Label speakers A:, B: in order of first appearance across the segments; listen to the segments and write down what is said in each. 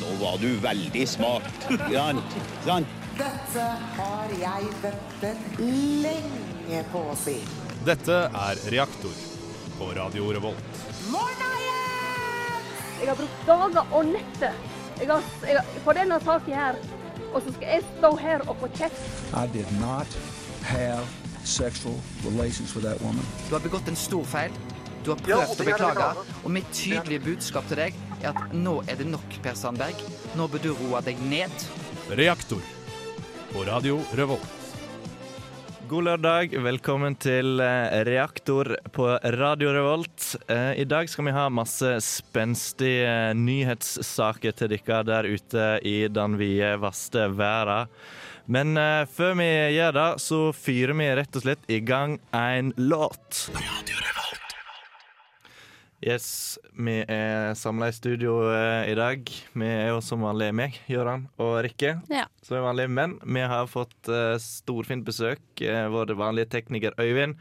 A: Nå var du veldig smart. Sant? Sant?
B: Dette har jeg ventet lenge på å si.
C: Dette er Reaktor på Radio Revolt.
B: Morna igjen!
D: Jeg har brukt dager og netter jeg har, jeg har, på denne saken her. Og så skal jeg stå her og få kjeft.
E: I did not have sexual relations with that woman.
F: Du har begått en stor feil. Du har prøvd å beklage. Og mitt tydelige budskap til deg er at nå er det nok, Per Sandberg. Nå bør du roe deg ned.
C: Reaktor på Radio Revolt.
G: God lørdag. Velkommen til eh, Reaktor på Radio Revolt. Eh, I dag skal vi ha masse spenstige eh, nyhetssaker til dere der ute i den vide, vaste verden. Men eh, før vi gjør det, så fyrer vi rett og slett i gang en låt. På Radio Revolt. Yes, vi er samla i studio eh, i dag. Vi er jo som vanlig meg, Gøran og Rikke.
H: Ja.
G: Som er vanlig, men vi har fått eh, storfint besøk. Eh, vår vanlige tekniker Øyvind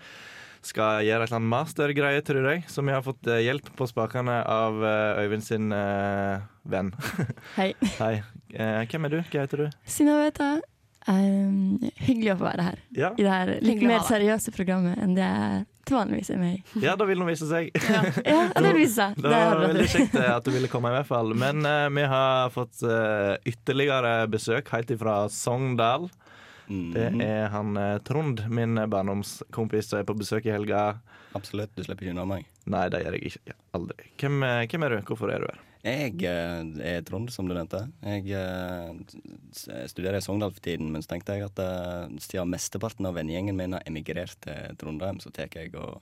G: skal gjøre et eller annet mastergreie, tror jeg. Så vi har fått eh, hjelp på spakene av eh, Øyvind sin eh, venn.
H: Hei.
G: Hei. Eh, hvem er du? Hva heter du?
H: Synnøve Um, hyggelig å få være her
G: Ja,
H: i det her litt
I: Hyggelig å
H: mer
I: ha
H: seriøse programmet enn det jeg til vanligvis er med i.
G: ja det vil nå vise seg.
H: Ja, det viser seg.
G: Det
H: Det
G: var
H: hadde
G: veldig
H: vært
G: kjekt eh, at du ville komme, i hvert fall. Men eh, vi har fått eh, ytterligere besøk helt ifra Sogndal. Det er han eh, Trond, min barndomskompis, som er på besøk i helga.
A: Absolutt, du slipper ikke unna meg.
G: Nei, det gjør jeg ikke. Ja, Aldri. Hvem, eh, hvem er du? Hvorfor er du her?
A: Jeg eh, er Trond, som du nevnte. Jeg eh, s- studerer i Sogndal for tiden, men så tenkte jeg at eh, siden mesteparten av vennegjengen min har emigrert til Trondheim, så tar jeg og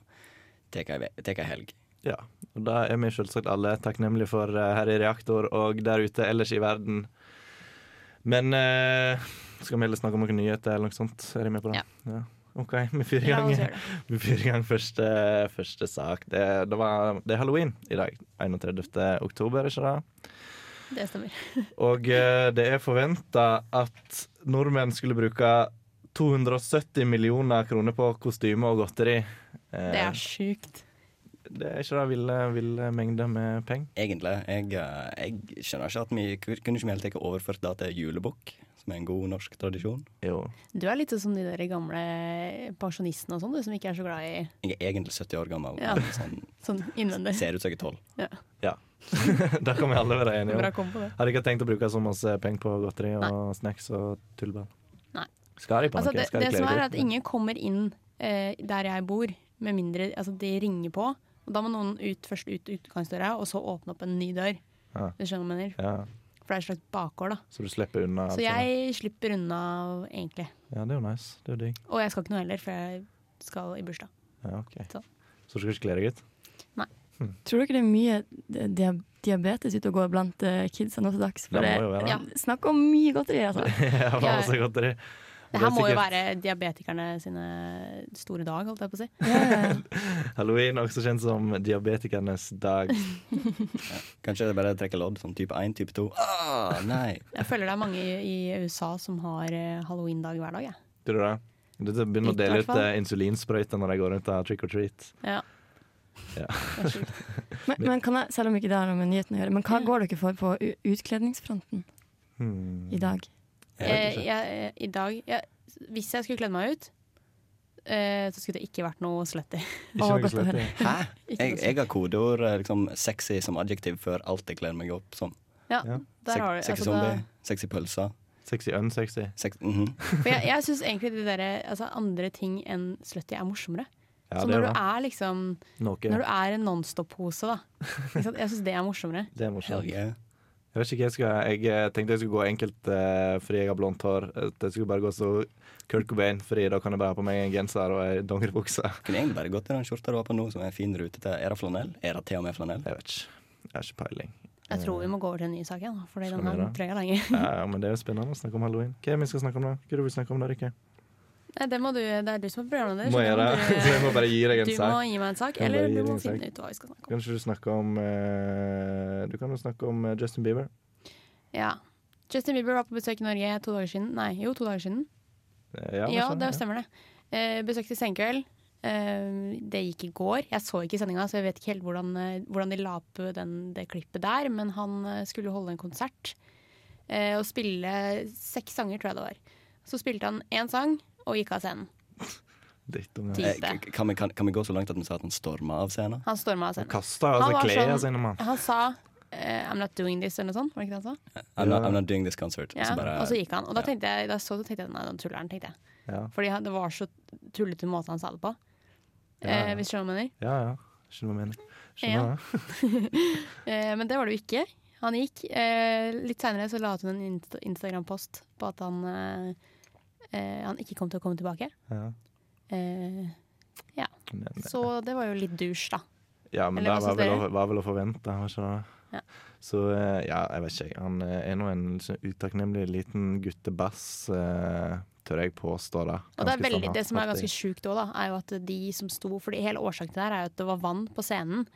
A: tek ei ve- tek ei helg.
G: Ja, og Da er vi selvsagt alle takknemlige for eh, her i Reaktor og der ute ellers i verden. Men eh, skal vi heller snakke om noen nyheter eller noe sånt? Er jeg med på det? Ja. OK, vi fyrer i
I: La
G: gang.
I: oss gjøre det.
G: Vi fyrer i gang første, første sak. Det, det, var, det er halloween i dag. 31. oktober, ikke det?
I: Det stemmer.
G: Og eh, det er forventa at nordmenn skulle bruke 270 millioner kroner på kostyme og godteri. Eh,
I: Det er sjukt.
G: det er ikke det ville, ville mengder med penger?
A: Egentlig. Jeg, eh, jeg skjønner ikke at vi kunne ikke vi helt ikke overført det til julebukk, som er en god norsk tradisjon.
G: Jo.
I: Du er litt sånn som de der gamle pensjonistene og sånn, du som ikke er så glad i
A: Jeg er egentlig 70 år gammel,
I: Ja.
A: men sånn,
I: sånn innvendig.
A: ser ut som jeg er 12.
G: Ja. det kan vi alle være enige
I: Bra
G: om.
I: kom på det.
G: Har ikke tenkt å bruke så masse penger på godteri og snacks og tullball.
I: Nei.
G: Skal de på
I: Altså,
G: noe?
I: det,
G: Skal de
I: det som
G: kle dere
I: er
G: ut?
I: at ingen kommer inn eh, der jeg bor, med mindre altså, de ringer på. Og da må noen ut, først ut utgangsdøra, og så åpne opp en ny dør.
G: Ja.
I: Du skjønner hva jeg mener?
G: ja,
I: For det er et slags bakgård, da.
G: Så du slipper unna? alt
I: Så jeg slipper unna, egentlig.
G: sånt. Ja, det er jo nice. Det er jo digg.
I: Og jeg skal ikke noe heller, for jeg skal i bursdag.
G: Ja, ok.
I: Sånn.
G: Så du skal ikke kle deg ut?
H: Tror dere det er mye dia diabetes ute og går blant eh, kidsa nå til dags?
G: Det
H: For
G: må jo
H: det,
G: være.
H: ja, snakk om mye godteri, altså.
G: Ja, det var så godt det.
I: Det her
G: er
I: må jo
G: sikkert
I: være diabetikerne sine store dag, holdt jeg på å si.
G: Halloween, også kjent som diabetikernes dag.
A: Kanskje jeg bare trekker lodd, sånn type 1, type 2. Ah, nei!
I: Jeg føler det er mange i i USA som har eh, halloween-dag hver dag. jeg.
G: Tror du det? Du begynner å
I: Litt,
G: dele ut
I: hvertfall.
G: eh, insulinsprøyter når de går rundt og har trick or treat.
I: Ja.
G: Ja.
I: Det er sjukt.
H: Men, men kan jeg, selv om ikke det har noe med nyheten å gjøre, men hva går dere for på u- utkledningsfronten
G: Hmm.
H: i dag?
I: Eh, jeg, I dag jeg, Hvis jeg skulle kledd meg ut, eh, så skulle det ikke vært noe slutty.
G: Ikke
H: Å,
G: noe
H: godt å høre.
G: sletting.
A: Hæ?
I: Ikke
A: Jeg,
I: noe
A: jeg har kodeord eh, liksom, sexy som adjektiv før alt jeg kler meg opp som.
I: Ja,
G: Ja.
I: der har du
A: sexy
I: altså,
A: zombie,
I: da-
A: sexy pølser.
G: Sexy unsexy.
A: Sex, mhm.
I: For jeg, jeg syns egentlig de der, altså, andre ting enn slutty er morsommere.
G: Ja,
I: så
G: det
I: når
G: er
I: du
G: det.
I: er liksom Når
G: Noe.
I: du er en Nonstop-pose, da. Ikke sant? Jeg syns det er morsommere.
G: Det er morsomt.
A: Hell yeah.
G: Jeg vet ikke, jeg, skal, jeg eh, tenkte jeg skulle gå enkelt eh, fordi jeg har blondt hår. At Jeg skulle bare gå så Kurt Cobain, fordi da kan jeg bare ha på meg en genser og ei dongeribukse.
A: Kunne egentlig bare gått i den skjorta du har på nå, som er en fin rute til. Er det flanell? Er det til og med flanell?
G: Jeg vet ikke. Jeg har ikke peiling.
I: Jeg tror vi må gå over til en ny sak igjen, da, fordi
G: Skal
I: den
G: vi
I: her
G: det?
I: drøyer lenge.
G: Ja, men det er jo spennende å snakke om halloween. Hva er det vi skal snakke om da? Hva er det vi snakker om da, Rikke?
I: Nei, det, må du, det er du som er programleder.
G: Må
I: så
G: jeg
I: da
G: det?
I: må
G: Så jeg må bare gi deg
I: Du,
G: en
I: du må
G: sak.
I: gi meg en sak,
G: Jeg må
I: eller
G: bare gi
I: du
G: deg
I: må
G: en
I: finne
G: sak.
I: ut hva vi skal snakke om.
G: Kanskje du snakker om eh, Du kan jo snakke om eh, Justin Bieber.
I: Ja. Justin Bieber var på besøk i Norge to dager siden. Nei, jo, to dager siden.
G: Eh,
I: Ja,
G: sånn,
I: det stemmer det. Eh, besøkte Senkveld. Eh, det gikk i går. Jeg så ikke sendinga, så jeg vet ikke helt hvordan, eh, hvordan de la opp den, det klippet der. Men han eh, skulle eh, holde en konsert eh, og spille seks sanger, tror jeg det var. Så spilte han én sang og gikk av scenen.
G: Drittunge.
A: Eh,
I: Type.
A: k- kan, vi, kan, kan vi gå så langt at vi sa at han storma av scenen?
I: Han storma av scenen.
G: Kasta
I: Han
G: altså
I: var
G: klærne
I: sånn-
G: sine, mann.
I: Han sa eh, 'I'm not doing this' eller noe sånt. Var det ikke det han sa?
A: I'm, not, I'm not doing this concert.
I: Ja,
G: Altså
A: Og så bare
I: og så gikk han. Og da tenkte jeg, da så, tenkte jeg nei, den tulleren, tenkte jeg.
G: Ja,
I: Fordi han, det var så tullete måte han sa det på.
G: Ja,
I: Eh,
G: ja.
I: hvis du skjønner hva jeg mener.
G: ja. ja. Skjønner hva jeg mener.
I: Ja.
G: Skjønner det.
I: Eh, men det var det jo ikke. Han gikk. Eh, litt seinere så la hun en Insta Instagram-post på at han eh, eh, Han ikke kom til å komme tilbake.
G: Ja.
I: Eh,
G: Men-
I: så det var jo litt douche, da.
G: Ja, men
I: Eller
G: det
I: hva
G: var
I: synes
G: vel,
I: dere?
G: å- var vel å forvente, var ikke det?
I: Ja.
G: Så eh, ja, jeg vet ikke. jeg. Han eh, er nå en sånn utakknemlig liten guttebass, eh, tør jeg påstå. da.
I: Og det, er
G: Ganske
I: veldig,
G: sånn
I: det som er
G: hattig.
I: ganske sjukt òg, da, er jo at de som sto Fordi hele årsaken til det her er jo at det var vann på scenen,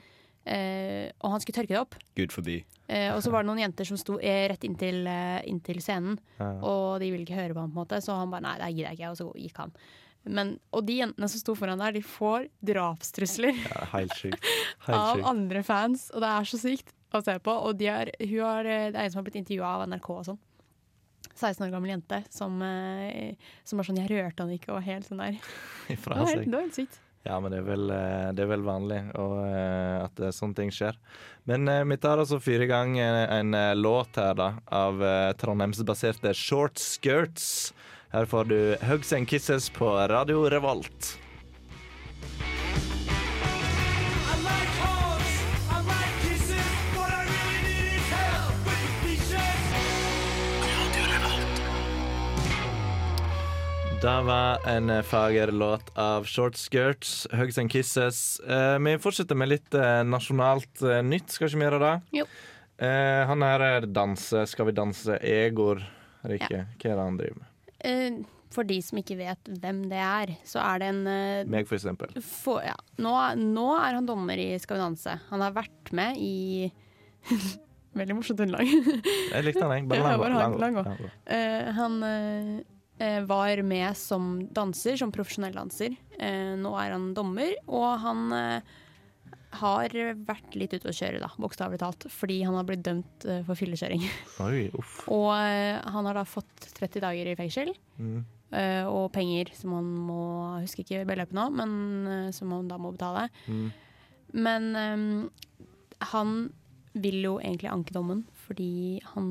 I: eh, og han skulle tørke det opp.
A: Gud forby.
I: Eh, og så var det noen jenter som sto eh, rett inntil, eh, inntil scenen,
G: Ja.
I: og de ville ikke høre på ham, på en måte, så han bare nei, det gidder jeg ikke, og så gikk han. Men, og de jentene som sto foran der, de får drapstrusler
G: Ja, Helt sjukt. Helt
I: av
G: sjukt.
I: andre fans, og det er så sykt å se på. Og de er, hun har, eh, det er en som har blitt intervjua av NRK og sånn. 16 år gammel jente som, eh, som er sånn 'jeg rørte han ikke' og helt sånn der. Det var
G: Ifra
I: helt,
G: seg.
I: det var helt sykt.
G: Ja, men det er vel, eh, det er vel vanlig og, eh, at eh, sånne ting skjer. Men eh, vi tar altså fire gang eh, en eh, låt her, da, av eh, trondheimsbaserte Short Skirts. Her får du Hugs and Kisses på Radio Revolt. Det var en eh, fager låt av Short Skirts, Hugs and Kisses. Eh, vi fortsetter med litt eh, nasjonalt eh, nytt, skal ikke vi gjøre det?
I: Jo.
G: Eh, han her er danse, Skal vi danse, Egor. Rikke, hva er det han driver med?
I: Eh, for de som ikke vet hvem det er, så er det en eh,
G: Meg, for eksempel.
I: få- ja. nå, nå er han dommer i Skal vi danse. Han har vært med i Veldig morsomt underlag.
G: Jeg likte han, jeg. Bare
I: Ja,
G: lang,
I: bare
G: lang,
I: lang,
G: lang,
I: lang. Eh, han eh, eh, var med som danser, som profesjonell danser. Eh, nå er han dommer, og han eh, har vært litt ute å kjøre, da, bokstavelig talt. Fordi han har blitt dømt eh, for fyllekjøring.
G: Oi, uff.
I: Og eh, han har da fått 30 dager i fengsel.
G: Mm.
I: eh, og penger som han må Jeg husker ikke beløpet nå, men eh, som han da må betale.
G: Mm.
I: Men eh, han vil jo egentlig anke dommen, fordi han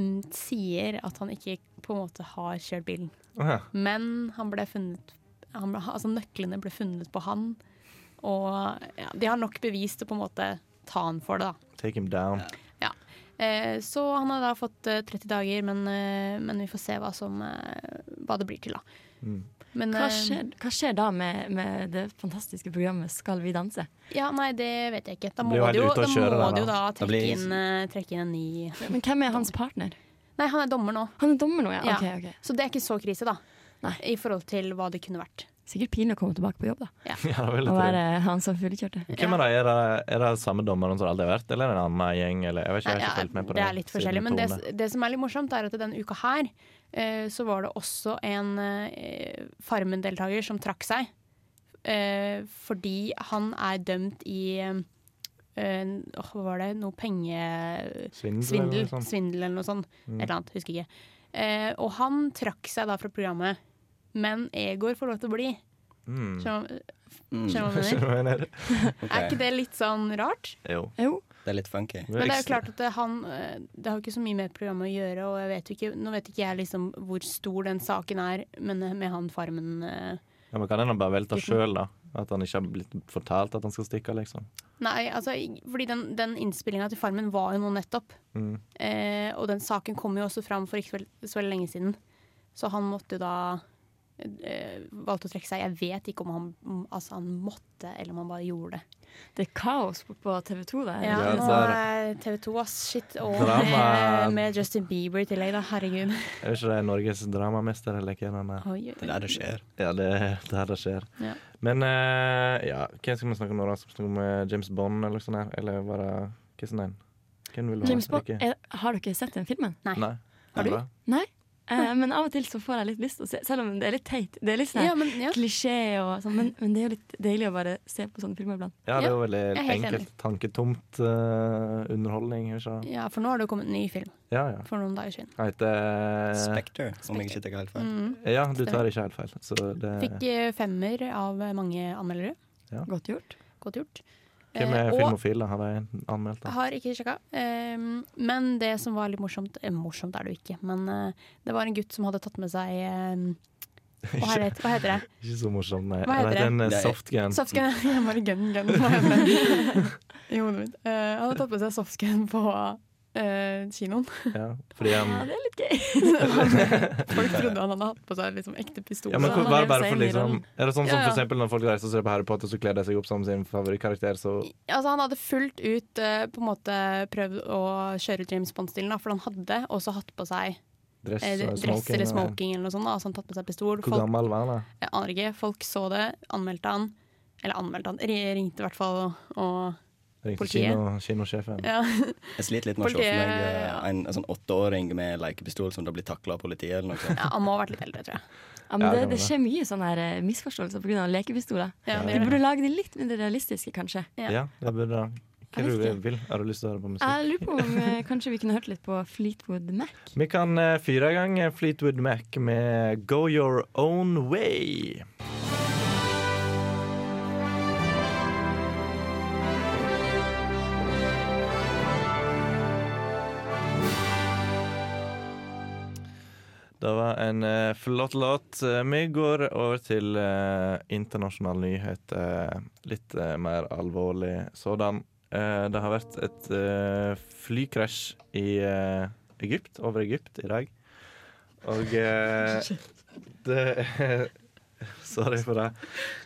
I: mm, sier at han ikke på en måte har kjørt bilen.
G: Aha.
I: Men han ble funnet han ble, Altså nøklene ble funnet på han, og ja, de har nok bevis til på en måte ta han for det, da.
G: Take him down.
I: Eh, Så han har da fått eh, 30 dager, men, eh, men vi får se hva, som, eh, hva det blir til, da.
G: Mm.
I: Men,
H: Hva
I: eh,
H: skjer, hva skjer da med, med det fantastiske programmet Skal vi danse?
I: Ja, nei, det vet jeg ikke. Da må
G: Blir jo helt
I: de jo,
G: ute å
I: da
G: kjøre
I: må
G: der,
I: de jo da
A: Da
I: trekke,
A: blir-
I: inn, eh, trekke inn en ny
H: Men hvem er hans partner?
I: Nei, han er dommer nå,
H: Han er dommer nå, ja.
I: Ja.
H: Ok, ok.
I: så det er ikke så krise, da.
H: Nei.
I: I forhold til hva det kunne vært.
H: Sikkert pinlig å komme tilbake på jobb, da.
G: Ja, det var
H: Og
G: litt
H: være
G: det.
H: han som fuglekjørte.
G: Hvem er det? Er det, er det samme dommeren som det alltid har vært, eller er det en annen gjeng? Eller? Jeg vet ikke, jeg har
I: Nei,
G: ikke
I: ja,
G: fulgt med på det.
I: det er litt
G: siden
I: forskjellig. Men det,
G: Tone.
I: det som er litt morsomt, er at denne uka her eh, så var det også en eh, Farmen-deltaker som trakk seg. Eh, fordi han er dømt i eh, en- åh, Hva var det? Noe pengesvindel?
G: Svindel,
I: Svindel,
G: eller noe sånt. Mm.
I: svindel eller noe sånt. Et eller annet, husker ikke. Eh, og han trakk seg da fra programmet. Men Egor får lov til å bli.
G: Mm.
I: Skjønner du skjønner du hva jeg
G: Skjønner
I: mener?
G: du hva jeg mener?
I: Er ikke det litt sånn rart?
G: Jo.
H: Jo,
A: Det er litt funky.
I: Men det er jo klart at det, han eh, Det har jo ikke så mye med programmet å gjøre, og jeg vet jo ikke, nå vet ikke jeg liksom hvor stor den saken er men eh, med han Farmen eh,
G: Ja, men kan en bare velte sjøl, da? At han ikke har blitt fortalt at han skal stikke, liksom.
I: Nei, altså, fordi den, den innspillinga til Farmen var jo nå nettopp.
G: Mm.
I: Eh, og den saken kom jo også fram for ikke så veld- så veldig lenge siden. Så han måtte jo da eh, Valgte å trekke seg. Jeg vet ikke om han, om- altså, han måtte, eller om han bare gjorde det.
H: det er kaos på- på TV 2 der.
I: Ja,
G: Ja,
I: nå
G: der-
I: er TV 2, ass. Shit. Og
G: Drama.
I: med, med Justin Bieber i tillegg, da. Herregud.
G: Er ikke det Norges dramamester, eller hva er det?
I: Oi, oi,
A: Det er
I: oi.
A: der det skjer.
G: Ja, det er der det skjer.
I: Ja.
G: Men eh, ja, hva skal vi snakke om nå, da? Skal vi snakke om eh, James Bond, eller noe sånt? her? Eller var det Hva er sånn en? Hvem vil du ha?
H: James Bond,
G: Rikke?
H: er, har dere sett den filmen?
I: Nei.
G: Nei.
I: Har du?
G: Eller?
H: Nei? Eh, men av og til så får jeg litt lyst til å se, selv om det er litt teit. Det er litt sånn
I: Ja, men ja.
H: klisjé og sånn, men, men det er jo litt deilig å bare se på sånne filmer iblant.
G: Ja, det er jo veldig
I: jeg er helt
G: enkelt, tanketomt eh, underholdning. Ikke? sant?
I: ja, for nå har det jo kommet en ny film
G: Ja, ja.
I: for noen dager siden.
G: Hva heter
A: Spectre, om jeg ikke tar helt feil.
I: Mm.
G: Ja, du tar ikke helt feil. Så det,
I: Fikk eh, femmer av mange anmeldere.
H: Godt gjort.
I: Godt gjort.
G: hvem er
I: Eh, og
G: filmofile? Har de anmeldt det?
I: har ikke sjekka. Um, men det som var litt morsomt eh, Morsomt er det jo ikke, men eh, det var en gutt som hadde tatt med seg um, hva, er det, hva heter det?
G: Ikke så morsomt, nei.
I: Hva heter
G: det?
I: det?
G: En eh,
A: Nei.
G: softgun.
I: Softgun. Jeg bare gun, gun på hodet. i hodet mitt. Eh, han hadde tatt med seg softgun på eh, kinoen.
G: Ja, fordi han
H: Ja, det er litt gøy.
I: Folk trodde han hadde hatt på seg liksom ekte pistol.
G: ja, men
H: Så
G: hvor-
H: han
G: var
H: lever
G: det bare
H: seg
G: for
H: inn i
G: liksom
H: rollen.
G: Er det sånn som
I: Ja,
G: for
I: ja.
G: eksempel når folk reiser og ser på Harry Potter, så kler de seg opp som sin favorittkarakter, så
I: altså, han hadde fullt ut eh, på en måte prøvd å kjøre James Bond-stilen, da, for han hadde også hatt på seg
G: dress,
I: eh,
G: og
I: dress eller
G: og-
I: smoking eller noe sånt. Da. Så han tatt med seg pistol.
G: Hvor
I: Folk,
G: gammel var han da?
I: jeg aner ikke, folk så det, anmeldte han. Eller anmeldte han, Ri- ringte i hvert fall og
G: Ringte
I: Politiet.
G: kino, kinosjefen.
I: ja.
A: Jeg sliter litt med å se for
I: Politiet,
A: meg eh,
I: ja.
A: en, en sånn åtteåring med lekepistol som da blir takla av politiet eller noe sånt.
I: ja, Han må ha vært litt eldre, tror jeg.
H: Ja, men
G: Ja,
H: det,
G: det var
H: det skjer mye sånne her eh, misforståelser pga. lekepistoler.
I: Ja, det
H: De
I: gjør det.
H: burde lage de litt mindre realistiske, kanskje.
I: Ja.
G: Ja, det burde da Hva
H: Jeg
G: er det
H: vet
G: du vil? Har du lyst til å høre på musikk?
H: Jeg lurer på om eh, kanskje vi kunne hørt litt på Fleetwood Mac.
G: Vi kan eh, fyre i gang eh, Fleetwood Mac med Go Your Own Way. Det var en eh, flott låt. Eh, Vi går over til eh, internasjonal nyhet. eh, litt eh, mer alvorlig sådan. Eh, det har vært et eh, flykrasj i eh, Egypt, over Egypt, i dag. Og eh, det Sorry for det.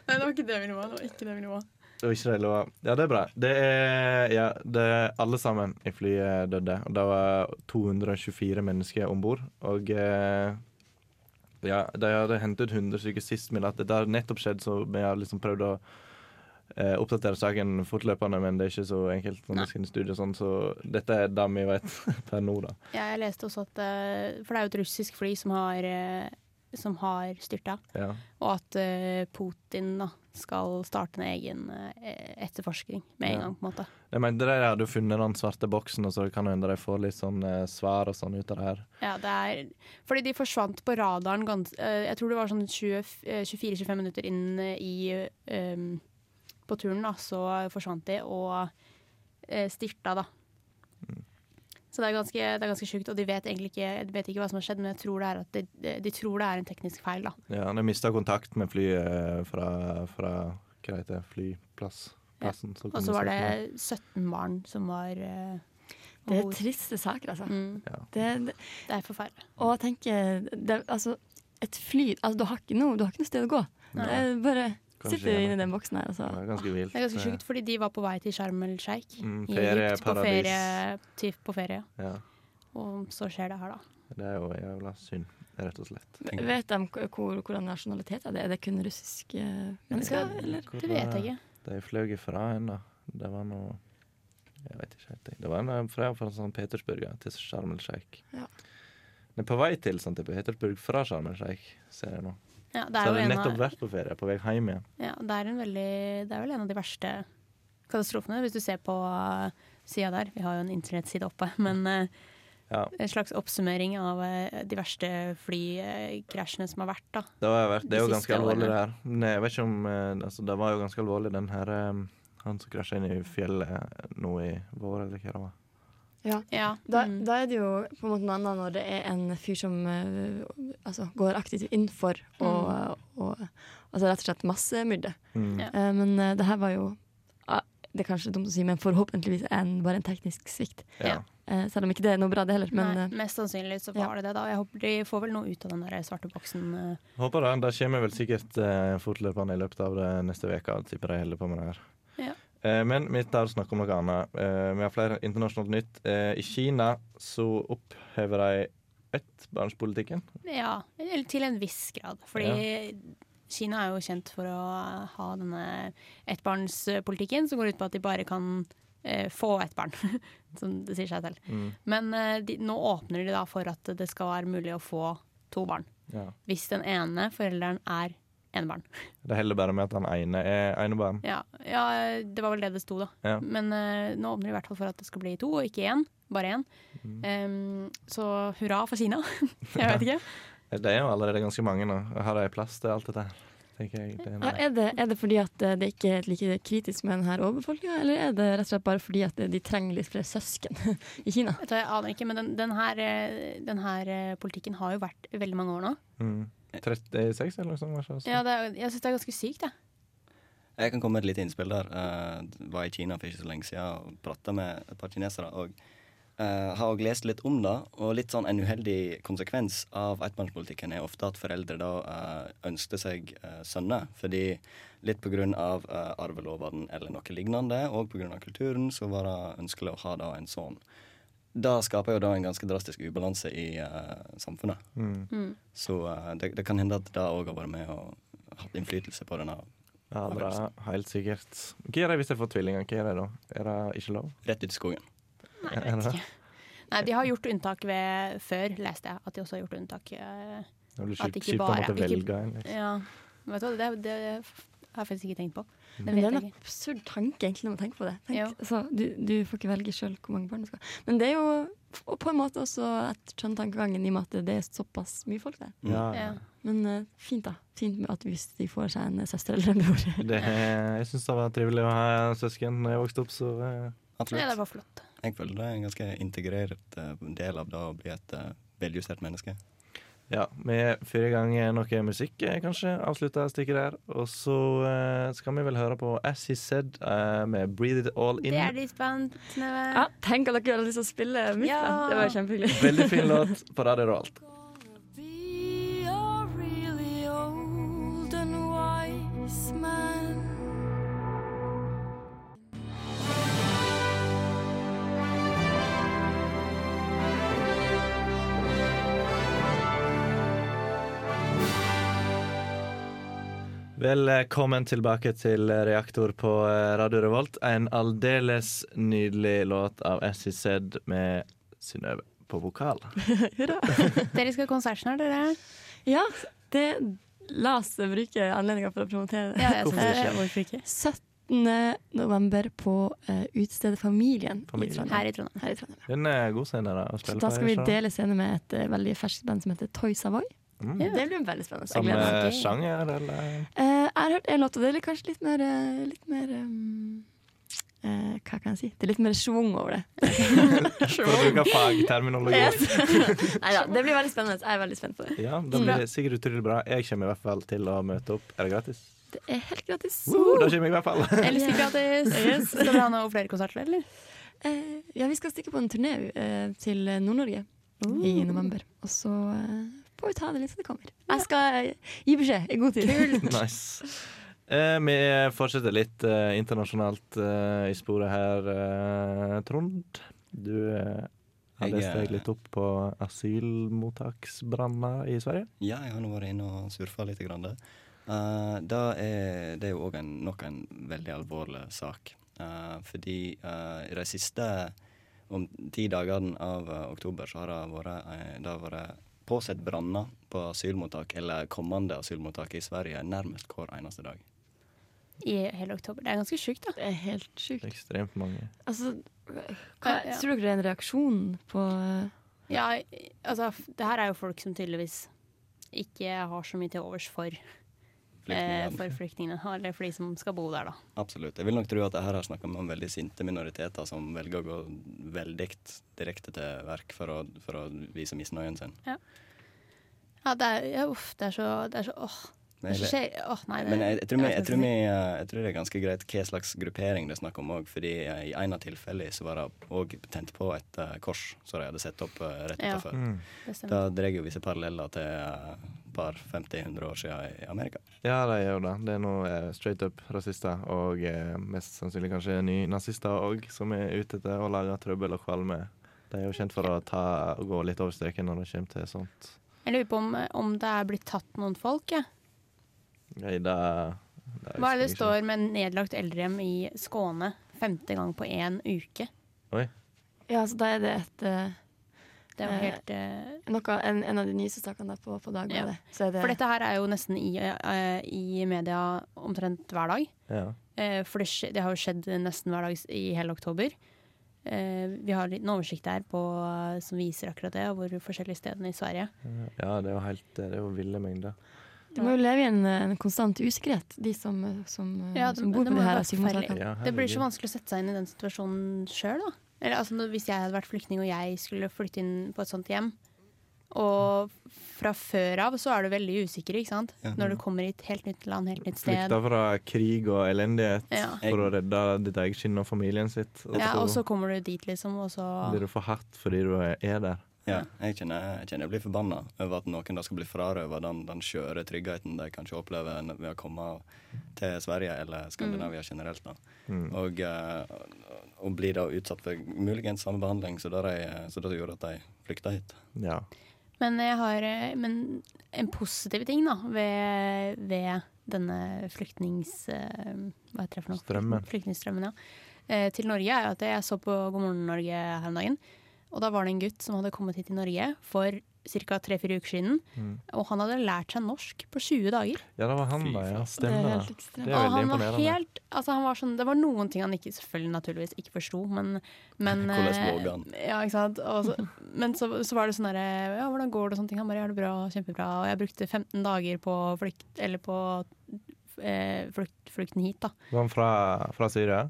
I: Nei, det var ikke det vi ville ha. Det var ikke det vi ville ha.
G: Det var ikke det lova. Ja, det er bra. Det er, ja, det er alle sammen i flyet døde. Og det var 224 mennesker om bord. Og eh, ja, de hadde hentet 100 stykker sist, men at det har nettopp skjedd, så vi har liksom prøvd å eh, oppdatere saken fortløpende, men det er ikke så enkelt. Når vi skal inn i studio og sånn, så dette er det vi vet per nå, da.
I: Ja, jeg leste også at eh, For det er jo et russisk fly som har, eh, som har styrta.
G: Ja.
I: Og at eh, Putin da, skal starte en egen eh, etterforskning med en
G: Ja.
I: gang. på en måte.
G: Jeg mente de hadde jo funnet den svarte boksen, og så kan det hende de får litt sånn eh, svar og sånn ut av det her.
I: Ja, det er, fordi de forsvant på radaren gans, eh, Jeg tror det var sånn 20 eh, 24-25 minutter inn eh, i eh, um, På turen, da, så forsvant de og eh, styrta, da. Så det er ganske, det er ganske sjukt, og de vet egentlig ikke, de vet ikke hva som har skjedd, men jeg tror det er at de, de, de tror det er en teknisk feil. da.
G: Ja, de mista kontakt med flyet eh, fra, fra hva heter det, flyplass. Plassen, så kom
I: Og så var
G: seg
I: det
G: ikke med.
I: 17 barn som var eh, om
H: Det er
I: bord.
H: triste saker, altså.
I: Mm.
H: Det, det,
I: Det er forferdelig.
H: og jeg tenker det, Altså, et fly altså, du, har ikke noe, du har ikke noe sted å gå. Det er bare
G: Kanskje
H: sitter
G: gjennom.
H: inni den boksen her, altså.
G: Det var ganske vilt.
I: Det er ganske sjukt, fordi de var på vei til Sharm el Sheikh.
G: Mm,
I: i
G: ferie,
I: Egypt, på
G: paradis.
I: ferie, til- på ferie.
G: eh, Ja,
I: Og så skjer det her, da.
G: det er jo jævla synd, rett og slett.
H: Vet de k- hvor, hvordan nasjonalitet er det? Er det kun russiske mennesker, eller?
G: Hvor
I: Det vet
G: var-
I: jeg ikke.
G: De fløy ifra en, da. Det var noe Jeg vet ikke helt. jeg. Det var en eh, fra, fra St. Petersburg ja, til Sharm el Sheikh.
H: Ja.
G: Men på vei til St. Petersburg fra Sharm el Sheikh, ser jeg nå.
I: Ja, det
G: Så
I: er jo
G: hadde de
I: en
G: nettopp
I: av,
G: vært på ferie, på vei hjem igjen.
I: ja, det er, en veldig, det er vel en av de verste katastrofene, hvis du ser på sida der. Vi har jo en internettside oppe, men eh,
G: Ja.
I: en slags oppsummering av eh, de verste flykrasjene som har vært, da.
G: Det, har vært, det er
I: De
G: jo
I: siste
G: ganske alvorlig, det
I: årene.
G: her. Nei, jeg vet ikke om eh, altså, Det var jo ganske alvorlig, den her eh, Han som krasja inn i fjellet eh, nå i vår, eller hva det var.
H: Ja.
I: Ja,
H: Da,
I: mm.
H: da er det jo på en måte noe annet når det er en fyr som eh, altså, går aktivt inn for å å- altså, rett og slett massemyrde.
G: Mm.
I: Ja.
H: Eh, men eh, det her var jo ah, Det er kanskje dumt å si, men forhåpentligvis en, bare en teknisk svikt.
G: Ja.
H: Eh, selv om ikke det er noe bra, det heller. Men
I: Nei,
H: eh,
I: mest sannsynlig så
H: ja.
I: var det det, da. Jeg håper de får vel noe ut av den der svarte boksen. eh,
G: Håper det. Det kommer vel sikkert eh, fortløpende i løpet av det neste uka. Tipper de holder på med det her.
I: Ja.
G: Eh, men vi tar og snakker om noe annet. Eh, vi har flere internasjonalt nytt. Eh, I Kina så opphever de ettbarnspolitikken.
I: Ja, eller til en viss grad. Fordi Kina er jo kjent for å ha denne ettbarnspolitikken som går ut på at de bare kan eh, få ett barn. Som det sier seg selv. Men eh, de, nå åpner de da for at det skal være mulig å få to barn.
G: Ja.
I: Hvis den ene forelderen er enebarn.
G: Det heller bare med at han ene er enebarn.
I: Ja, ja, det var vel det det sto, da.
G: Ja.
I: Men eh, nå åpner de i hvert fall for at det skal bli to, og ikke én. Bare én. Em, så hurra for Kina. jeg vet ikke.
G: Det er jo allerede ganske mange nå. Har de plass til alt dette her? Tenker jeg. Det er
H: Ja, er, det, er det fordi at eh, det ikke er like kritisk med denne overbefolkninga, eller er det rett og slett bare fordi at eh, de trenger litt flere søsken i Kina?
I: Vet du, Jeg aner ikke, men den, den, her, eh, den her eh, politikken har jo vært veldig mange år nå.
G: mm. 36 eller noe sånt? var det ikke?
I: Ja, det er, jeg syns det er ganske sykt, jeg.
A: Jeg kan komme med et lite innspill der. Eh, var i Kina for ikke så lenge siden og prata med et par kinesere. Og eh, har også lest litt om det. Og litt sånn en uheldig konsekvens av ettbarnspolitikken er ofte at foreldre da eh, ønsker seg eh, sønner. Fordi litt pga. av eh, arvelovene eller noe lignende, og pga. kulturen, så var det ønskelig å ha da en sønn. Det skaper jo da en ganske drastisk ubalanse i eh, samfunnet. Så eh, det, det kan hende at det òg har vært med og hatt innflytelse på denne
G: Ja, det er helt sikkert. Hva gjør de hvis de får tvillinger? Hva gjør de da? Er det ikke lov?
A: rett ut i skogen.
I: Nei, jeg vet ikke. Nei, de har gjort unntak ved før, leste jeg. At de også har gjort unntak. eh,
G: Det
I: At
G: blir kjipt,
I: ikke
G: kjipt å
I: bare-
G: måtte
I: ikke-
G: velge en. liksom.
I: Ja, vet du hva, det, det har jeg faktisk ikke tenkt på. Det
H: Men det
I: vet
H: er
I: jeg
H: en
I: ikke.
H: absurd tanke, egentlig, når man tenker på det.
I: Jo.
H: Tenk, altså, du, du får ikke velge sjøl hvor mange barn du skal ha. Men det er jo f- og på en måte også et skjønn tankegangen i og med at det er såpass mye folk der.
G: Ja, ja.
I: Ja.
H: Men eh, fint, da. Fint med at hvis de får seg en eh, søster eller en bror.
G: Det, jeg syns det var trivelig å ha søsken da jeg vokste opp, så eh,
I: Nei, det
A: Absolutt.
I: var flott.
A: Jeg føler det er en ganske integrert eh, del av det å bli et eh, veljustert menneske.
G: Ja, vi fyrer i gang noe musikk, eh, kanskje. Avslutter stikket der. Og så eh, skal vi vel høre på As He Said eh, med Breathe It All In.
I: Det er de spent med.
H: Ja, tenk at dere hadde lyst til å spille mitt,
I: Ja.
H: da. Det var kjempehyggelig.
G: Veldig fin låt på Radio Rolt.
J: Be a really old and wise man.
G: eh, Velkommen tilbake til Reaktor på eh, Radio Revolt. En aldeles nydelig låt av As He Said med Synnøve på vokal.
I: Dere skal ha konsert snart, dere?
H: Ja, det La oss bruke anledninga for å promotere det.
I: Ja, jeg
G: Hvorfor
I: synes det.
G: ikke?
I: Hvorfor ikke?
H: 17. november på eh, utestedet Familien,
G: Familien.
H: i Trondheim.
I: Her i Trondheim.
H: Her i Trondheim.
G: Den er god scene da, å
H: Så
G: spille
H: da skal vi
G: ikke sant?
H: dele scene med et eh, veldig ferskt band som heter Toy Savoy.
G: Mm.
H: Det blir veldig spennende. Jeg
G: Samme
H: gleder meg.
I: meg.
G: eh, sjanger, eller?
H: Eh, jeg har hørt en låt, og det er litt- kanskje litt mer, eh, litt mer um, eh, Hva kan jeg si? Det er litt mer schwung over det.
G: For å bruke fagterminologi.
H: Neida, det blir veldig spennende. Jeg er veldig spent på det.
G: Ja, da blir det sikkert utrolig bra. Jeg kommer i hvert fall til å møte opp. Er det gratis?
H: Det er helt gratis.
G: Woo, da kommer jeg i hvert fall.
I: Eller stikk gratis. Skal dere ha noe flere konserter, eller?
H: Eh, ja, vi skal stikke på en turné eh, til Nord-Norge i november. Og så eh, får vi ta det litt så det kommer. Jeg skal eh, gi beskjed i god tid.
G: Nice. Eh, vi fortsetter litt eh, internasjonalt eh, i sporet her, eh, Trond. Du eh, har
A: Jeg,
G: lest
A: eh,
G: deg litt opp på asylmottaksbranner i Sverige.
A: Ja, jeg har nå vært inne og surfa litt. Grann der. Eh, det, er, det er jo òg en, nok en veldig alvorlig sak. Eh, fordi eh, i de siste om ti dagene av eh, oktober så har det vært, eh, det har vært påsett branner på asylmottak eller kommende asylmottak i Sverige nærmest hver eneste dag.
I: I hele oktober. Det er ganske sjukt, da.
H: Det er helt sjukt.
G: Ekstremt mange.
H: Altså, hva,
I: Ja, ja.
H: tror dere det er en reaksjon på eh,
I: Ja, altså, f- det her er jo folk som tydeligvis ikke har så mye til overs for, eh,
A: Flyktningene.
I: for flyktningene. Eller for de som skal bo der, da.
A: Absolutt. Jeg vil nok tro at det her er snakk om noen veldig sinte minoriteter som velger å gå veldig direkte til verk for å, for å vise misnøyen sin.
I: Ja, det er, ja, uff, det er så, det er så åh. Det
A: Men
I: er så
A: jeg,
I: skje- åh, nei, det,
A: men jeg, jeg, tror vi,
I: vet
A: jeg,
I: ikke
A: tror
I: hva
A: vi,
I: jeg skal si.
A: eh, jeg tror det er ganske greit hva slags gruppering det er snakk om òg. Fordi eh, i en av tilfellene så var det òg tent på et eh, kors som de hadde satt opp eh, rett
I: Ja.
A: utenfor.
G: Mm.
I: Det stemmer.
A: Da drar jo visse paralleller til eh, par 50-100 år siden i Amerika.
G: Ja, de gjør det. Det er nå eh, straight up rasister og eh, mest sannsynlig kanskje nynazister òg, som er ute etter å lage trøbbel og kvalme. De er jo kjent for å ta, gå litt over streken når det kommer til sånt.
I: Jeg lurer på om, om det er blitt tatt noen folk. Ja.
G: Nei, da- da
I: Hva er det det
G: husker jeg ikke.
I: står med nedlagt eldrehjem i Skåne femte gang på én uke?
G: Oi.
H: Ja, altså, da er det et eh,
I: Det er jo
H: Eh,
I: helt eh,
H: Noe, en, en av de nyeste sakene da på, på Dagbladet. Så er det,
I: For dette her er jo nesten i, eh, i media omtrent hver dag.
G: Ja.
I: Eh, For det, skje- det har jo skjedd nesten hver dag s- i hele oktober. Eh, Vi har en oversikt her på, eh, som viser akkurat det, og hvor forskjellige stedene i Sverige.
G: ja, det er jo helt Det er jo ville mengder.
H: de må jo leve i en, en konstant usikkerhet, de som, eh, som,
I: Ja,
H: Mm. som bor på
I: må
H: de
I: jo
H: her
I: være
H: asylmottakene.
I: forferdelig.
G: Ja, herregud.
I: det blir så vanskelig å sette seg inn i den situasjonen sjøl, da. Eller, altså, når- hvis jeg hadde vært flyktning og jeg skulle flytte inn på et sånt hjem, og fra før av så er du veldig usikker, ikke sant. Når du kommer i et helt nytt land, helt nytt sted.
G: Flykta fra krig og elendighet
I: Ja.
G: for å redde ditt eget skinn og familien sitt. Og
I: Ja, og
G: så
I: så kommer du dit, liksom, og så
G: blir du for hardt fordi du er der.
A: Ja, jeg kjenner jeg, kjenner jeg blir forbanna over at noen da skal bli frarøva den, den skjøre tryggheten de kanskje opplever n- ved å komme til Sverige eller Skandinavia generelt. da. Og, eh, og, og blir da utsatt for muligens samme behandling som det de- som det gjorde at de flykta hit.
G: Ja.
I: Men jeg har eh, men en positiv ting, da, ved, ved denne flyktnings... eh, Hva heter det for noe?
G: Strømmen.
I: Flyktningstrømmen, ja. Eh, Til Norge er at jeg så på God morgen Norge her om dagen. Og da var det en gutt som hadde kommet hit til Norge for ca. tre-fire uker siden. Og han hadde lært seg norsk på 20 dager.
G: ja, det var han, da. Ja,
H: Det er
G: stemmer
H: helt
G: det.
H: ekstremt.
G: Det er
I: Og
G: veldig
I: han var
G: imponerende.
I: helt, altså han var sånn, det var noen ting han ikke, selvfølgelig naturligvis ikke forsto, men, men
A: Hvordan våger han?
I: eh, Ja, ikke sant? Og så, men så, så var det sånn derre Ja, hvordan går det og sånne ting? Han bare Ja, det er bra, kjempebra. Og jeg brukte 15 dager på flukt, eller på eh, flukt, flukten hit, da.
G: Var han fra, fra Syria?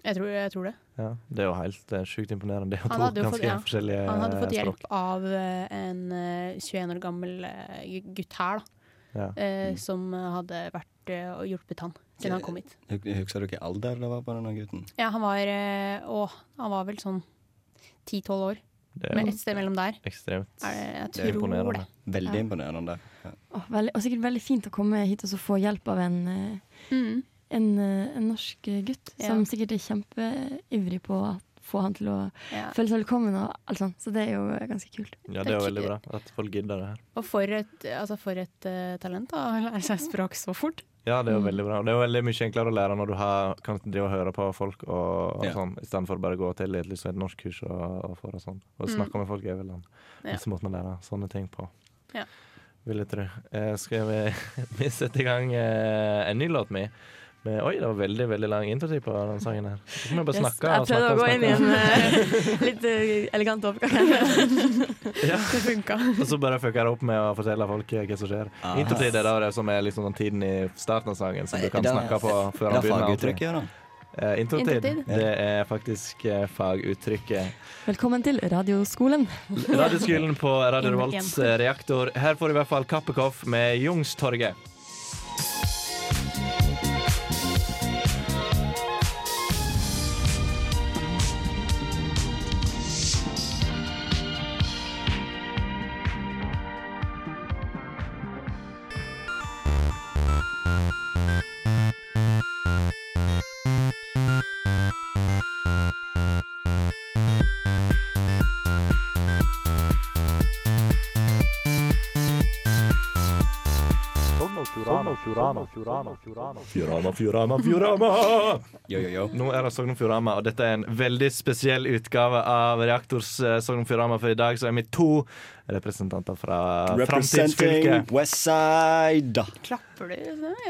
I: Jeg tror, jeg tror det.
G: Ja, Det er jo helt eh, sjukt imponerende. Det er jo
I: Han
G: to
I: hadde jo fått-
G: ganske
I: ja.
G: forskjellige
I: Han hadde fått
G: eh,
I: hjelp
G: språk.
I: av eh, en eh, 21 år gammel eh, gu- gutt her, da.
G: Ja. Mm.
I: eh, Som hadde vært eh, og hjulpet han siden han kom hit.
A: Hu- Husker du hvilken alder det var på denne gutten?
I: Ja, han var, eh, å, han var vel sånn 10-12 år.
G: Det er
I: Men
G: jo
I: et sted mellom der.
G: ekstremt
I: Er det, jeg
G: Det er
I: tror det.
G: imponerende.
A: Veldig imponerende. Ja.
H: Åh, veldig, og sikkert veldig fint å komme hit og så få hjelp av en, eh,
I: Mm.
H: en, eh, en norsk gutt
I: Ja.
H: som sikkert er kjempeivrig på å få han til å
I: Ja.
H: føle seg velkommen og alt sånt. Så det er jo eh, ganske kult.
G: Ja, det er jo veldig bra at folk gidder det her.
I: Og for et, altså for et eh, talent da, å lære seg språk så fort.
G: Ja, det er
H: Mm.
G: jo veldig bra. Og Det er jo veldig mye enklere å lære når du har, kan drive og høre på folk, og, og
A: Ja.
G: sånn, i stedet for bare å gå til et, liksom, et norskkurs og, og, for og sånn.
H: Mm.
G: Og snakke med folk er vel den
I: Ja.
G: beste måten å lære sånne ting på.
I: Ja.
G: Vil jeg tro. Eh, skal vi, vi sette i gang eh, en ny låt mi? Med, oi, det var veldig veldig lang introtid på den sangen her. Så kan vi bare snakke
H: jeg
G: og
H: prøvde
G: snakke
H: å
G: og
H: gå inn i
G: snakke.
H: en eh, litt eh, elegant overgang.
I: Det funka.
G: Og så bare fucker jeg opp med å fortelle folk eh, hva som skjer.
A: Ah.
G: Introtid er da det som er liksom den tiden i starten av sangen som du kan
A: Det-
G: snakke på før
A: Det
G: han begynner.
A: faguttrykket, ja da.
G: Eh, Introtid,
I: Introtid.
G: det er faktisk eh, faguttrykket.
H: Velkommen til Radioskolen.
G: Radioskolen på Radio
I: Inn
G: Revolts eh, reaktor. Her får du i hvert fall Kappekoff med Jungstorget. Fjorama, Fjorama, Fjorama!
A: Jo, jo, jo.
G: Nå er det Sogn og Fjordane, og dette er en veldig spesiell utgave av Reaktors eh, Sogn og Fjordane. For i dag så er vi to representanter fra
A: Representing
G: framtidsfylket.
A: Westside.
I: Klapper du? sånn?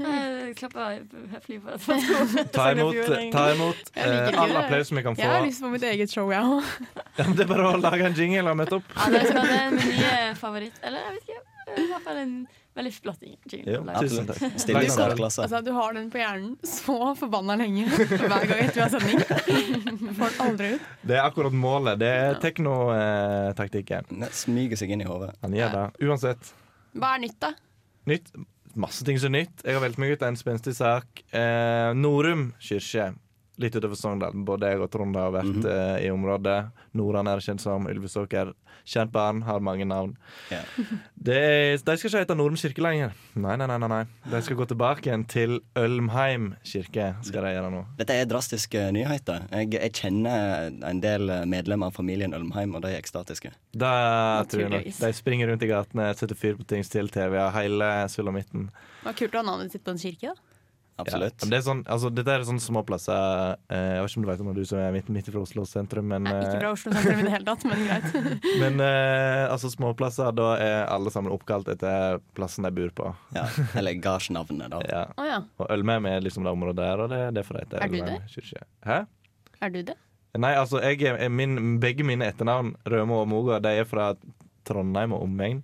I: Jeg-
H: Klappa høflig for at jeg skulle
G: Ta imot, ta imot
I: Jeg liker
G: eh,
I: ikke
G: all
I: det.
G: applaus vi kan
I: Jeg har
G: få.
I: lyst på mitt eget show, jeg òg.
G: Ja, men det er bare å lage en jingle og møte opp.
H: Ja, det er min nye favoritt. Eller jeg vet ikke. I hvert fall en veldig flott jingle.
G: Jo, tusen takk.
A: Stille i
G: Lang
A: særklasse.
I: Altså, du har den på hjernen så forbanna lenge hver gang etter vi har sending. Får den aldri ut.
G: Det er akkurat målet. Det er teknotaktikken.
A: Ne, Smyger seg inn i hodet.
G: Han gjør det. Uansett.
I: Hva er nytt, da?
G: Nytt. Masse ting som er nytt. Jeg har valgt meg ut en spenstig sak. Eh, Norum kirke. Litt utover Sogndal. Både jeg og Trond har vært eh, i området. Noran er kjent som Ylvesåker. Kjent barn, har mange navn.
A: Ja.
G: Det, de skal ikke hete Norum kirke lenger. Nei, nei, nei, nei, nei. De skal gå tilbake igjen til Ølmheim kirke. Skal de gjøre nå.
A: Dette er drastiske nyheter. Jeg, jeg kjenner en del eh, medlemmer av familien Ølmheim, og de er ekstatiske.
G: Det tror jeg nok.
I: Naturligvis.
G: De springer rundt i gatene, setter fyr på ting, stjeler TV-er, hele sulamitten.
I: Det var kult å ha navnet sitt på en kirke. da
A: absolutt.
G: Ja, men det er sånn, altså, dette er sånne småplasser eh, Jeg vet ikke om du vet om det er du som er midt, midt fra Oslo sentrum, men,
I: Nei, ikke
G: eh,
I: fra Oslo sentrum i det hele tatt, men greit.
G: men eh, altså, småplasser Da er alle sammen oppkalt etter plassen de bor på.
A: Ja, eller gardsnavnet, da.
G: Ja.
I: Å ja.
G: Og Ølmem er liksom det området der, og det er derfor det heter
I: Er du
G: Ølmem
I: det?
G: kirke. Hæ?
I: Er du det?
G: Nei, altså, jeg, er- er min, begge mine etternavn, Rømo og Moga, de er fra Trondheim og omegn.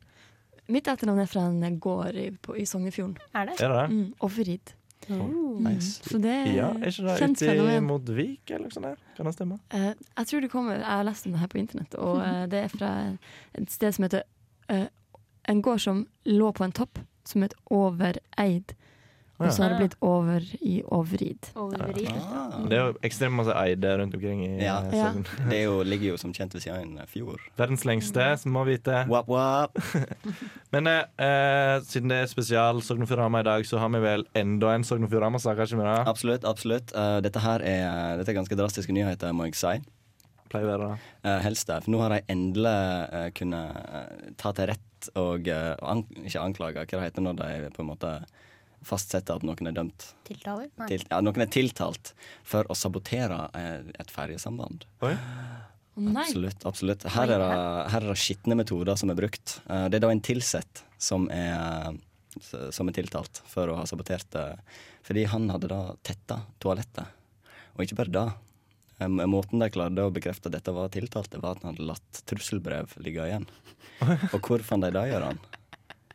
H: Mitt etternavn er fra en gård i, på, i Sognefjorden.
I: Er det? Mm.
G: Er det det?
H: Mm, Offerid.
A: Nice.
H: Så det er
G: Ja, er ikke det
H: kjent
G: ute
H: fenomen.
G: mot Vik eller noe sånt? der? Kan det stemme?
H: Eh, jeg tror det kommer Jeg har lest om det her på internett, og eh, det er fra et sted som heter eh, En gård som lå på en topp, som het Overeid. Og så har det blitt over i Overid.
I: Oliveri.
A: Ah,
G: Det er jo ekstremt masse eide rundt omkring i
A: Ja.
G: eh,
H: Ja.
G: Sogn.
A: det er jo, ligger jo som kjent ved siden av en eh, fjord.
G: Verdens lengste, som må vite.
A: Wap, wap.
G: Men eh, eh, siden det er spesial Sogn og Fjordane i dag, så har vi vel enda en Sogn og Fjordane-sak, har ikke vi det?
A: Absolutt, absolutt. Eh, dette her er, dette er ganske drastiske nyheter, må jeg si.
G: Pleier å være det.
A: Eh, helst det. For nå har de endelig eh, kunnet eh, ta til rett og eh, an Ikke anklage, hva det heter når de på en måte fastsetter at noen er dømt.
I: Tiltaler? Nei.
A: Til, ja, noen er tiltalt for å sabotere eh, et ferjesamband.
G: Oi.
H: Nei.
A: Absolutt. absolutt. Her er det, her er det skitne metoder som er brukt. Eh, det er da en tilsett som er, eh, som er tiltalt for å ha sabotert det. Fordi han hadde da tetta toalettet. Og ikke bare det. Eh, Måten de klarte å bekrefte at dette var tiltalte, var at han hadde latt trusselbrev ligge igjen. Og hvor fant de det, Gøran?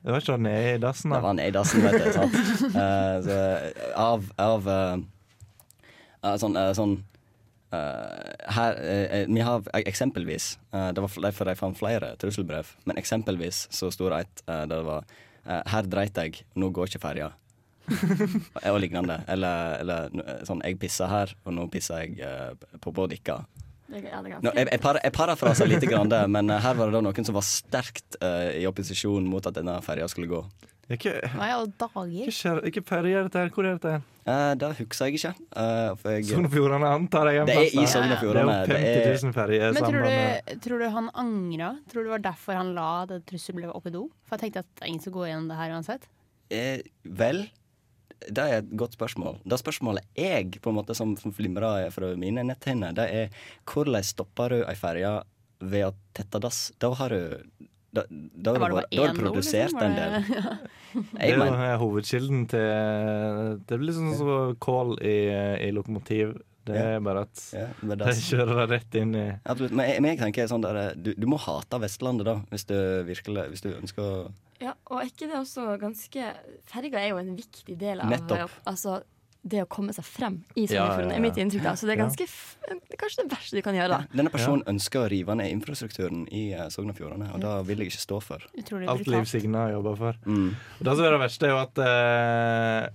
G: Det var ikke nede i dassen,
A: Det
G: da.
A: var han i dassen, vet du. Sant? Eh, så, av av eh, eh, sånn, eh, sånn eh, Her eh, eh, Vi har eh, eksempelvis eh, Det var fl- derfor jeg fant flere trusselbrev, men eksempelvis så sto det et eh, der det var eh, 'Her dreit jeg, nå går ikke ferja'. og lignende. Eller, eller eh, sånn 'Jeg pissa her, og nå pisser jeg eh, på både dere'.
H: Det er- ja, det er
A: Nå,
H: ganske-
A: jeg jeg, par, jeg parafraser lite grann, det, men eh, her var det da noen som var sterkt eh, i opposisjon mot at denne ferja skulle gå.
G: Ikke,
I: Hva i alle dager?
G: ikke, skjer- ikke ferje, dette her. Hvor er dette? her?
A: Eh, det husker jeg ikke. Eh, for jeg,
G: Sogn og Fjordane antar jeg er en
A: det er i
G: plass der.
A: Sogn og Fjordane.
G: Det
A: Det
G: er jo
A: er-
G: 50 000 ferjer
I: Men tror
G: sammen.
I: du, tror du han angra? Tror du det var derfor han la det trusselbrevet opp i do? For jeg tenkte at det er ingen som går gjennom det her uansett.
A: Eh, vel, det er et godt spørsmål. Det spørsmålet jeg på en måte som som flimrer fra mine netthinner, det er hvordan stopper du ei ferje ved å tette dass? Da har du da, da, har
I: Var det
A: du vært-
I: bare
A: da har
I: én
A: du
I: do,
A: produsert
I: liksom? Var
A: en del.
I: det-
G: Det
A: Jeg
G: er jo
A: mener,
G: eh, hovedkilden til Det blir liksom som kål i, eh, i lokomotiv. Det er bare at
A: ja, med
G: de
A: dass.
G: kjører det rett inn i
A: Absolutt. Men jeg, men jeg tenker sånn der, eh, du, du må hate Vestlandet, da, hvis du virkelig Hvis du ønsker å
H: Ja, og er ikke det også ganske Ferga er jo en viktig del av
A: Nettopp.
H: altså, det å komme seg frem i
G: Ja, ja,
H: Sognefjorden,
G: ja.
H: er mitt inntrykk. da. Så det er
G: Ja.
H: ganske f det er kanskje det verste du kan gjøre. da.
A: Denne personen ønsker å rive ned infrastrukturen i eh, Sogn og Fjordane, og det vil jeg ikke stå for.
I: Utrolig
G: Alt Liv
I: brutalt.
G: Signe har jobba for.
A: Mm.
G: Og Det som er det verste, er jo at eh,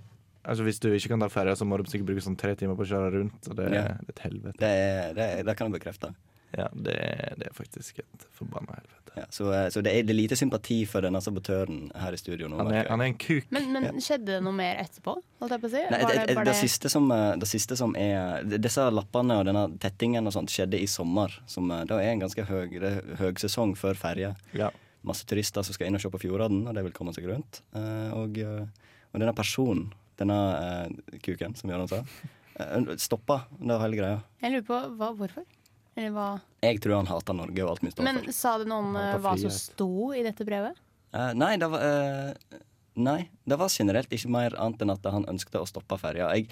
G: altså hvis du ikke kan ta ferja, så må du sikkert bruke sånn tre timer på å kjøre rundt. Og det er
A: Ja.
G: et helvete.
A: Det, er, det, er- det kan jeg bekrefte.
G: Ja, det, er- det er faktisk et forbanna helvete.
A: Ja, så, eh, så det er det er lite sympati for denne sabotøren her i studio nå.
G: Han
A: merker
G: er,
A: jeg.
G: han er en kuk.
I: Men, men skjedde det noe mer etterpå? Holdt jeg på å si?
A: Nei,
I: Var
A: det,
I: det
A: det,
I: bare
A: det, siste som, eh, det siste som er d- Disse lappene og denne tettingen og sånt skjedde i sommer. Som eh, da er en ganske høy, det er høgsesong før ferje.
G: Ja.
A: Masse turister som skal inn og se på fjordene, og de vil komme seg rundt. Eh, og, eh, og denne personen, denne eh, kuken, som Jørgen sa, uh, stoppa det hele greia.
I: Jeg lurer på hva, hvorfor? Eller hva?
A: Jeg tror han hater Norge og alt mye står
I: Men
A: for.
I: sa det noe om
G: Han tar
I: eh, hva som
G: frihet.
I: sto i dette brevet?
A: Eh, nei, det var eh, Nei, det var generelt ikke mer annet enn at han ønsket å stoppe ferja. Jeg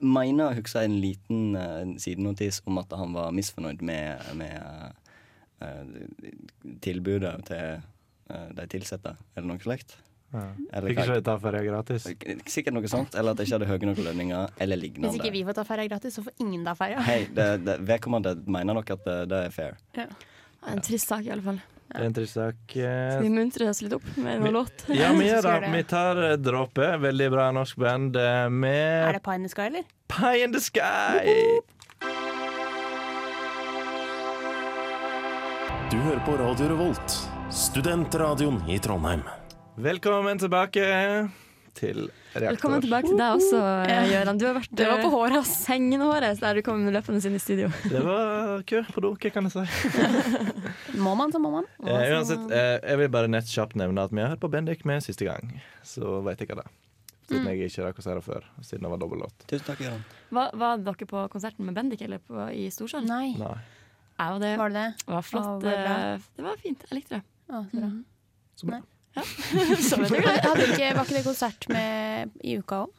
A: mener å huske en liten eh, en sidenotis om at han var misfornøyd med, med eh, tilbudet til eh, de ansatte, eller noe slikt.
G: Ja.
A: Eller
G: Fikk
A: hva-
G: ikke ta ferja gratis.
A: Sikkert noe sånt. Eller at de ikke hadde høye nok lønninger, eller lignende.
I: Hvis ikke vi får ta ferja gratis, så får ingen ta ferja.
A: Hei, det, det, vedkommende mener nok at eh, det, det er fair.
H: En trist sak, i alle fall.
G: Det er en trist sak.
H: Skal
G: eh,
H: vi muntre oss litt opp med
G: Vi-
H: noe låt?
G: Ja, vi
I: Skal vi
G: gjør det.
I: gjøre
G: Vi
I: det?
G: tar eh, Dråpe, veldig bra norsk band, eh,
I: Er det Pie
G: med
I: in the Sky, eller?
G: Pie in the Sky.
K: Du hører på Radio Revolt, studentradioen i Trondheim.
G: Velkommen tilbake til Reaktor.
H: Velkommen tilbake til deg også, eh, Gøran. Du har vært
I: Det var på håret, ass.
H: eh, hengende håret der du kom løpende inn i studio.
G: Det var kø på do, hva kan jeg si?
I: Må man, så må man.
G: Eh, uansett, eh, jeg vil bare nett kjapt nevne at vi har hørt på Bendik med siste gang. Så vet jeg hva det er. Siden
H: Mm.
G: jeg ikke rakk å si det før. Siden det var dobbellåt.
A: Tusen takk, Jørgen.
H: Var, var dere på konserten med Bendik eller på, i Storsalen?
I: Nei.
G: Nei.
H: Jeg var det.
I: Var det det?
H: Det var flott.
I: Å, var det bra?
H: eh, det var fint. Jeg likte det.
I: Å, så bra.
H: Mm. Så vet dere det.
I: Hadde ikke, var ikke det konsert med i uka òg?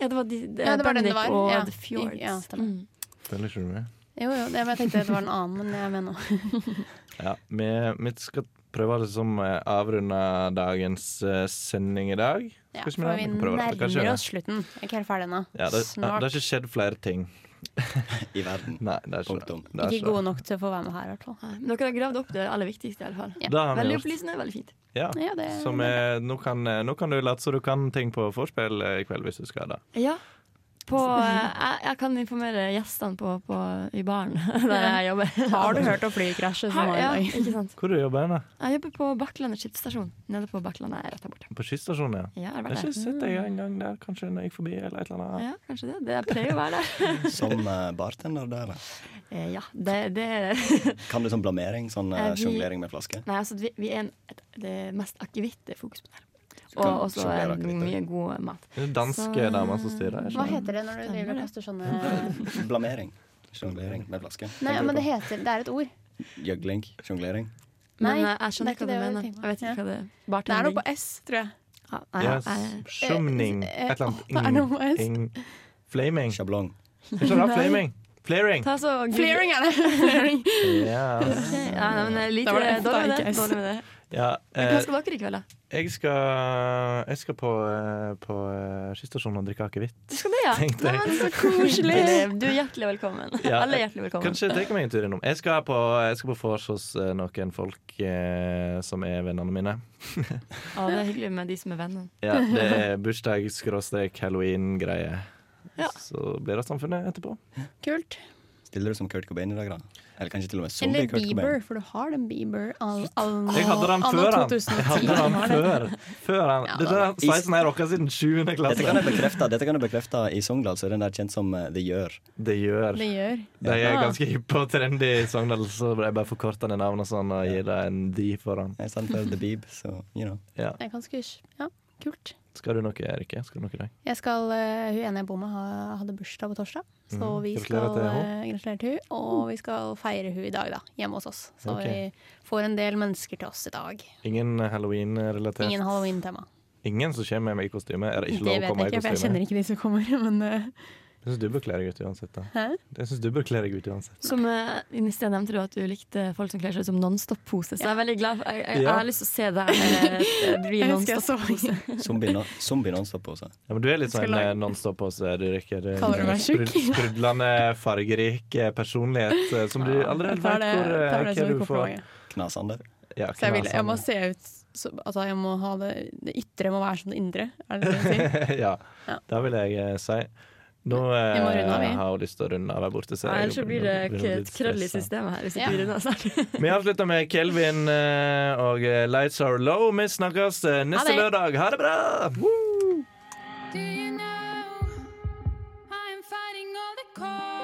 H: Ja, det var, de, det,
I: Ja, det var den det
H: Bendik
I: var.
H: og
I: Ja.
H: The Fjords.
I: Ja, stemmer.
H: Mm.
G: Føler ikke du med?
I: Jo, jo, det, men jeg tenkte det var en annen, men jeg mener også.
G: Ja, vi, vi skal prøve å liksom, eh, avrunde dagens eh, sending i dag.
I: Ja,
G: Skal
I: for
G: vi ikke
I: vi
G: prøve det? Kanskje
I: nærmer
G: det.
I: oss slutten. Jeg er ikke helt ferdig ennå.
G: Ja, det, ja, det
I: Snart.
G: har ikke skjedd flere ting.
A: I verden.
G: Nei, det er ikke
A: Punktum.
G: det. er
I: Ikke
G: ikke det.
I: gode nok til å få være med her, i hvert fall.
H: Nei, Men dere har gravd opp det aller viktigste, i alle fall.
G: Det har vi
H: Veldig
G: gjort.
H: opplysende, veldig fint.
G: Ja.
I: Ja, det-
G: Så vi- nå, kan, eh, nå kan du late som du kan ting på vorspiel eh, i kveld, hvis du skal det.
H: Ja. På, eh, jeg, jeg kan informere gjestene på, på, i baren der jeg jobber.
I: Har du hørt om flykrasjet som
H: Her,
I: var
H: ja,
I: i dag?
H: ikke sant?
G: Hvor du jobber du?
H: Jeg jobber på Bakklandet skipsstasjon. Nede på Bakklandet er rett der borte.
G: På skysstasjonen, ja.
H: Ja, jeg har
G: Jeg har
H: vært
G: ikke
H: der.
G: sett deg engang der, kanskje når jeg gikk forbi, eller et eller annet.
H: Ja, kanskje det. det jeg pleier å være der.
A: Som eh, bartender der,
H: Eh, Ja, det, det
A: kan du sånn blamering? Sånn eh,
H: Eh, vi-
A: sjonglering med flaske?
H: Nei, altså, vi, vi er en, et, det er mest akevitt det er fokus på der.
A: kan
H: Og også
A: sjonglere
H: eh,
A: akevitt,
H: mye god mat.
G: Det er danske
H: Så-
G: damer som styrer.
I: Hva
G: ikke sant?
I: heter det når du driver og kaster sånne
A: Blamering. Sjonglering med flaske.
I: Nei,
A: Tenker du
I: men det
A: på
I: heter Det er et ord.
A: Gjøgling. Sjonglering.
I: Nei,
H: Men eh, jeg skjønner
I: det er ikke
H: hva du
I: det jeg
H: mener.
I: tenker på.
H: Jeg vet ikke
I: Ja.
H: hva det er.
I: Det er noe
H: Bartending.
I: på S, tror jeg.
H: Ja, nei,
G: Yes.
H: jeg-
G: Sjumning.
I: eh,
G: Et eller annet.
I: åh, det er noe med S.
G: Ing, ing, flaming.
A: Sjablong.
G: Ikke det? Flaming. Flaring.
H: Ta så Google-
I: Flearing er det. Flearing.
G: Ja.
H: Ok, Ja, nei, men jeg
I: Da
H: liker
I: var det
H: det.
I: F,
H: Dårlig
I: da,
H: med
I: ikke
H: det.
I: S.
H: Dårlig med det.
G: ja
H: Hva
G: eh,
H: skal dere i kveld, da?
G: jeg skal, jeg skal på, eh, på eh, skystasjonen og drikke akevitt.
H: Du skal det, ja?
G: Tenkte
H: Nei,
G: jeg.
H: men så koselig. Du er hjertelig velkommen.
G: Ja, eh,
H: Alle er hjertelig velkommen.
G: Kanskje jeg tar meg en tur innom. Jeg skal på, jeg skal på vors hos eh, noen folk eh, som er vennene mine.
H: Ja, det er hyggelig med de som er venner.
G: Ja, det er bursdag-halloween-greie.
H: Ja.
G: Så blir det Samfunnet etterpå.
I: Kult.
A: Stiller du som Kurt Cobain i dag, da? Eller kanskje til og med som
I: Eller
A: Kurt
I: Bieber,
A: Cobain?
I: for du har den Bieber all, all,
G: Jeg hadde den
I: anno
G: før han.
I: 2010.
G: Jeg hadde den
I: Har det.
G: før, før han.
I: Ja,
G: Dette er
A: da.
G: sveisen jeg rocka siden 7.
A: Dette kan
G: klasse.
A: jeg bekrefte. Dette kan jeg bekrefte. I Sogndal så er den der kjent som eh, The Gjør.
G: Det gjør.
I: Det gjør.
G: De er
I: Ja.
G: ganske hippe og trendy i Sogndal, så jeg bare forkorter det navnet sånn og gir det en D foran.
A: I stedet for The Beeb, så you know.
G: Ja.
I: Det er ganske ja, kult.
G: Skal du noe, Rikke? Skal du noe i dag?
I: Jeg skal, eh, Hun ene jeg bor med, ha- hadde bursdag på torsdag. Så
G: Mm,
I: vi skal
G: gratulerer til henne.
I: eh, Gratulerer til hun Og vi skal feire hun i dag, da. Hjemme hos oss. Så
G: Ok.
I: vi får en del mennesker til oss i dag.
G: Ingen halloween-relatert?
I: Ingen halloween-tema.
G: Ingen som kommer med meg i kostyme? Er det
I: Det
G: ikke lov
I: vet
G: å komme
I: jeg
G: i
I: ikke, for jeg
G: kostyme?
I: kjenner ikke de som kommer. Men eh,
G: Jeg syns du bør kle deg ut uansett. da
I: hæ?
G: Jeg synes du bør kle deg ut uansett
H: Som eh, I sted nevnte du at du likte folk som kler seg ut som Nonstop-pose. Så jeg er veldig glad for, jeg, jeg, jeg
G: Ja.
H: har lyst til å se deg eh, bli
I: Jeg husker jeg så
H: Nonstop-pose.
A: Zombie no- Zombie nonstop-pose.
G: ja, men Du er litt
I: Skal
G: sånn
I: lage-
G: eh, nonstop-pose, du Rikke. Du-
I: Kaller du meg tjukk?
G: sprud- Sprudlende, fargerik eh, personlighet eh, som du aldri
I: Jeg
G: helt
I: tar
G: vet
I: det-
G: hvor eh,
I: tar det som
G: hva
I: et
G: du får.
I: kompliment.
A: Knasende.
G: Ja,
I: Så jeg, vil, jeg må
G: knasende.
I: se ut så, Altså, jeg må ha det, det ytre må være som det indre. Er det det du sier?
G: ja,
I: Ja.
G: det vil jeg eh, si. Nå
I: Vi må runde av,
G: eh,
I: vi.
G: har jeg lyst til å runde av her borte. Så
H: Nei,
G: jeg
H: Ellers så blir det
G: blir
H: k-
G: litt
H: et krøll i altså.
G: stresset.
H: systemet her. Hvis
I: Ja.
H: ikke vi runder av snart.
G: Vi avslutter med Kelvin eh, og eh, Lights Are Low. Vi snakkes eh, neste
I: det.
G: lørdag. Ha det bra! Woo!
J: Do you know I am fighting all the cold?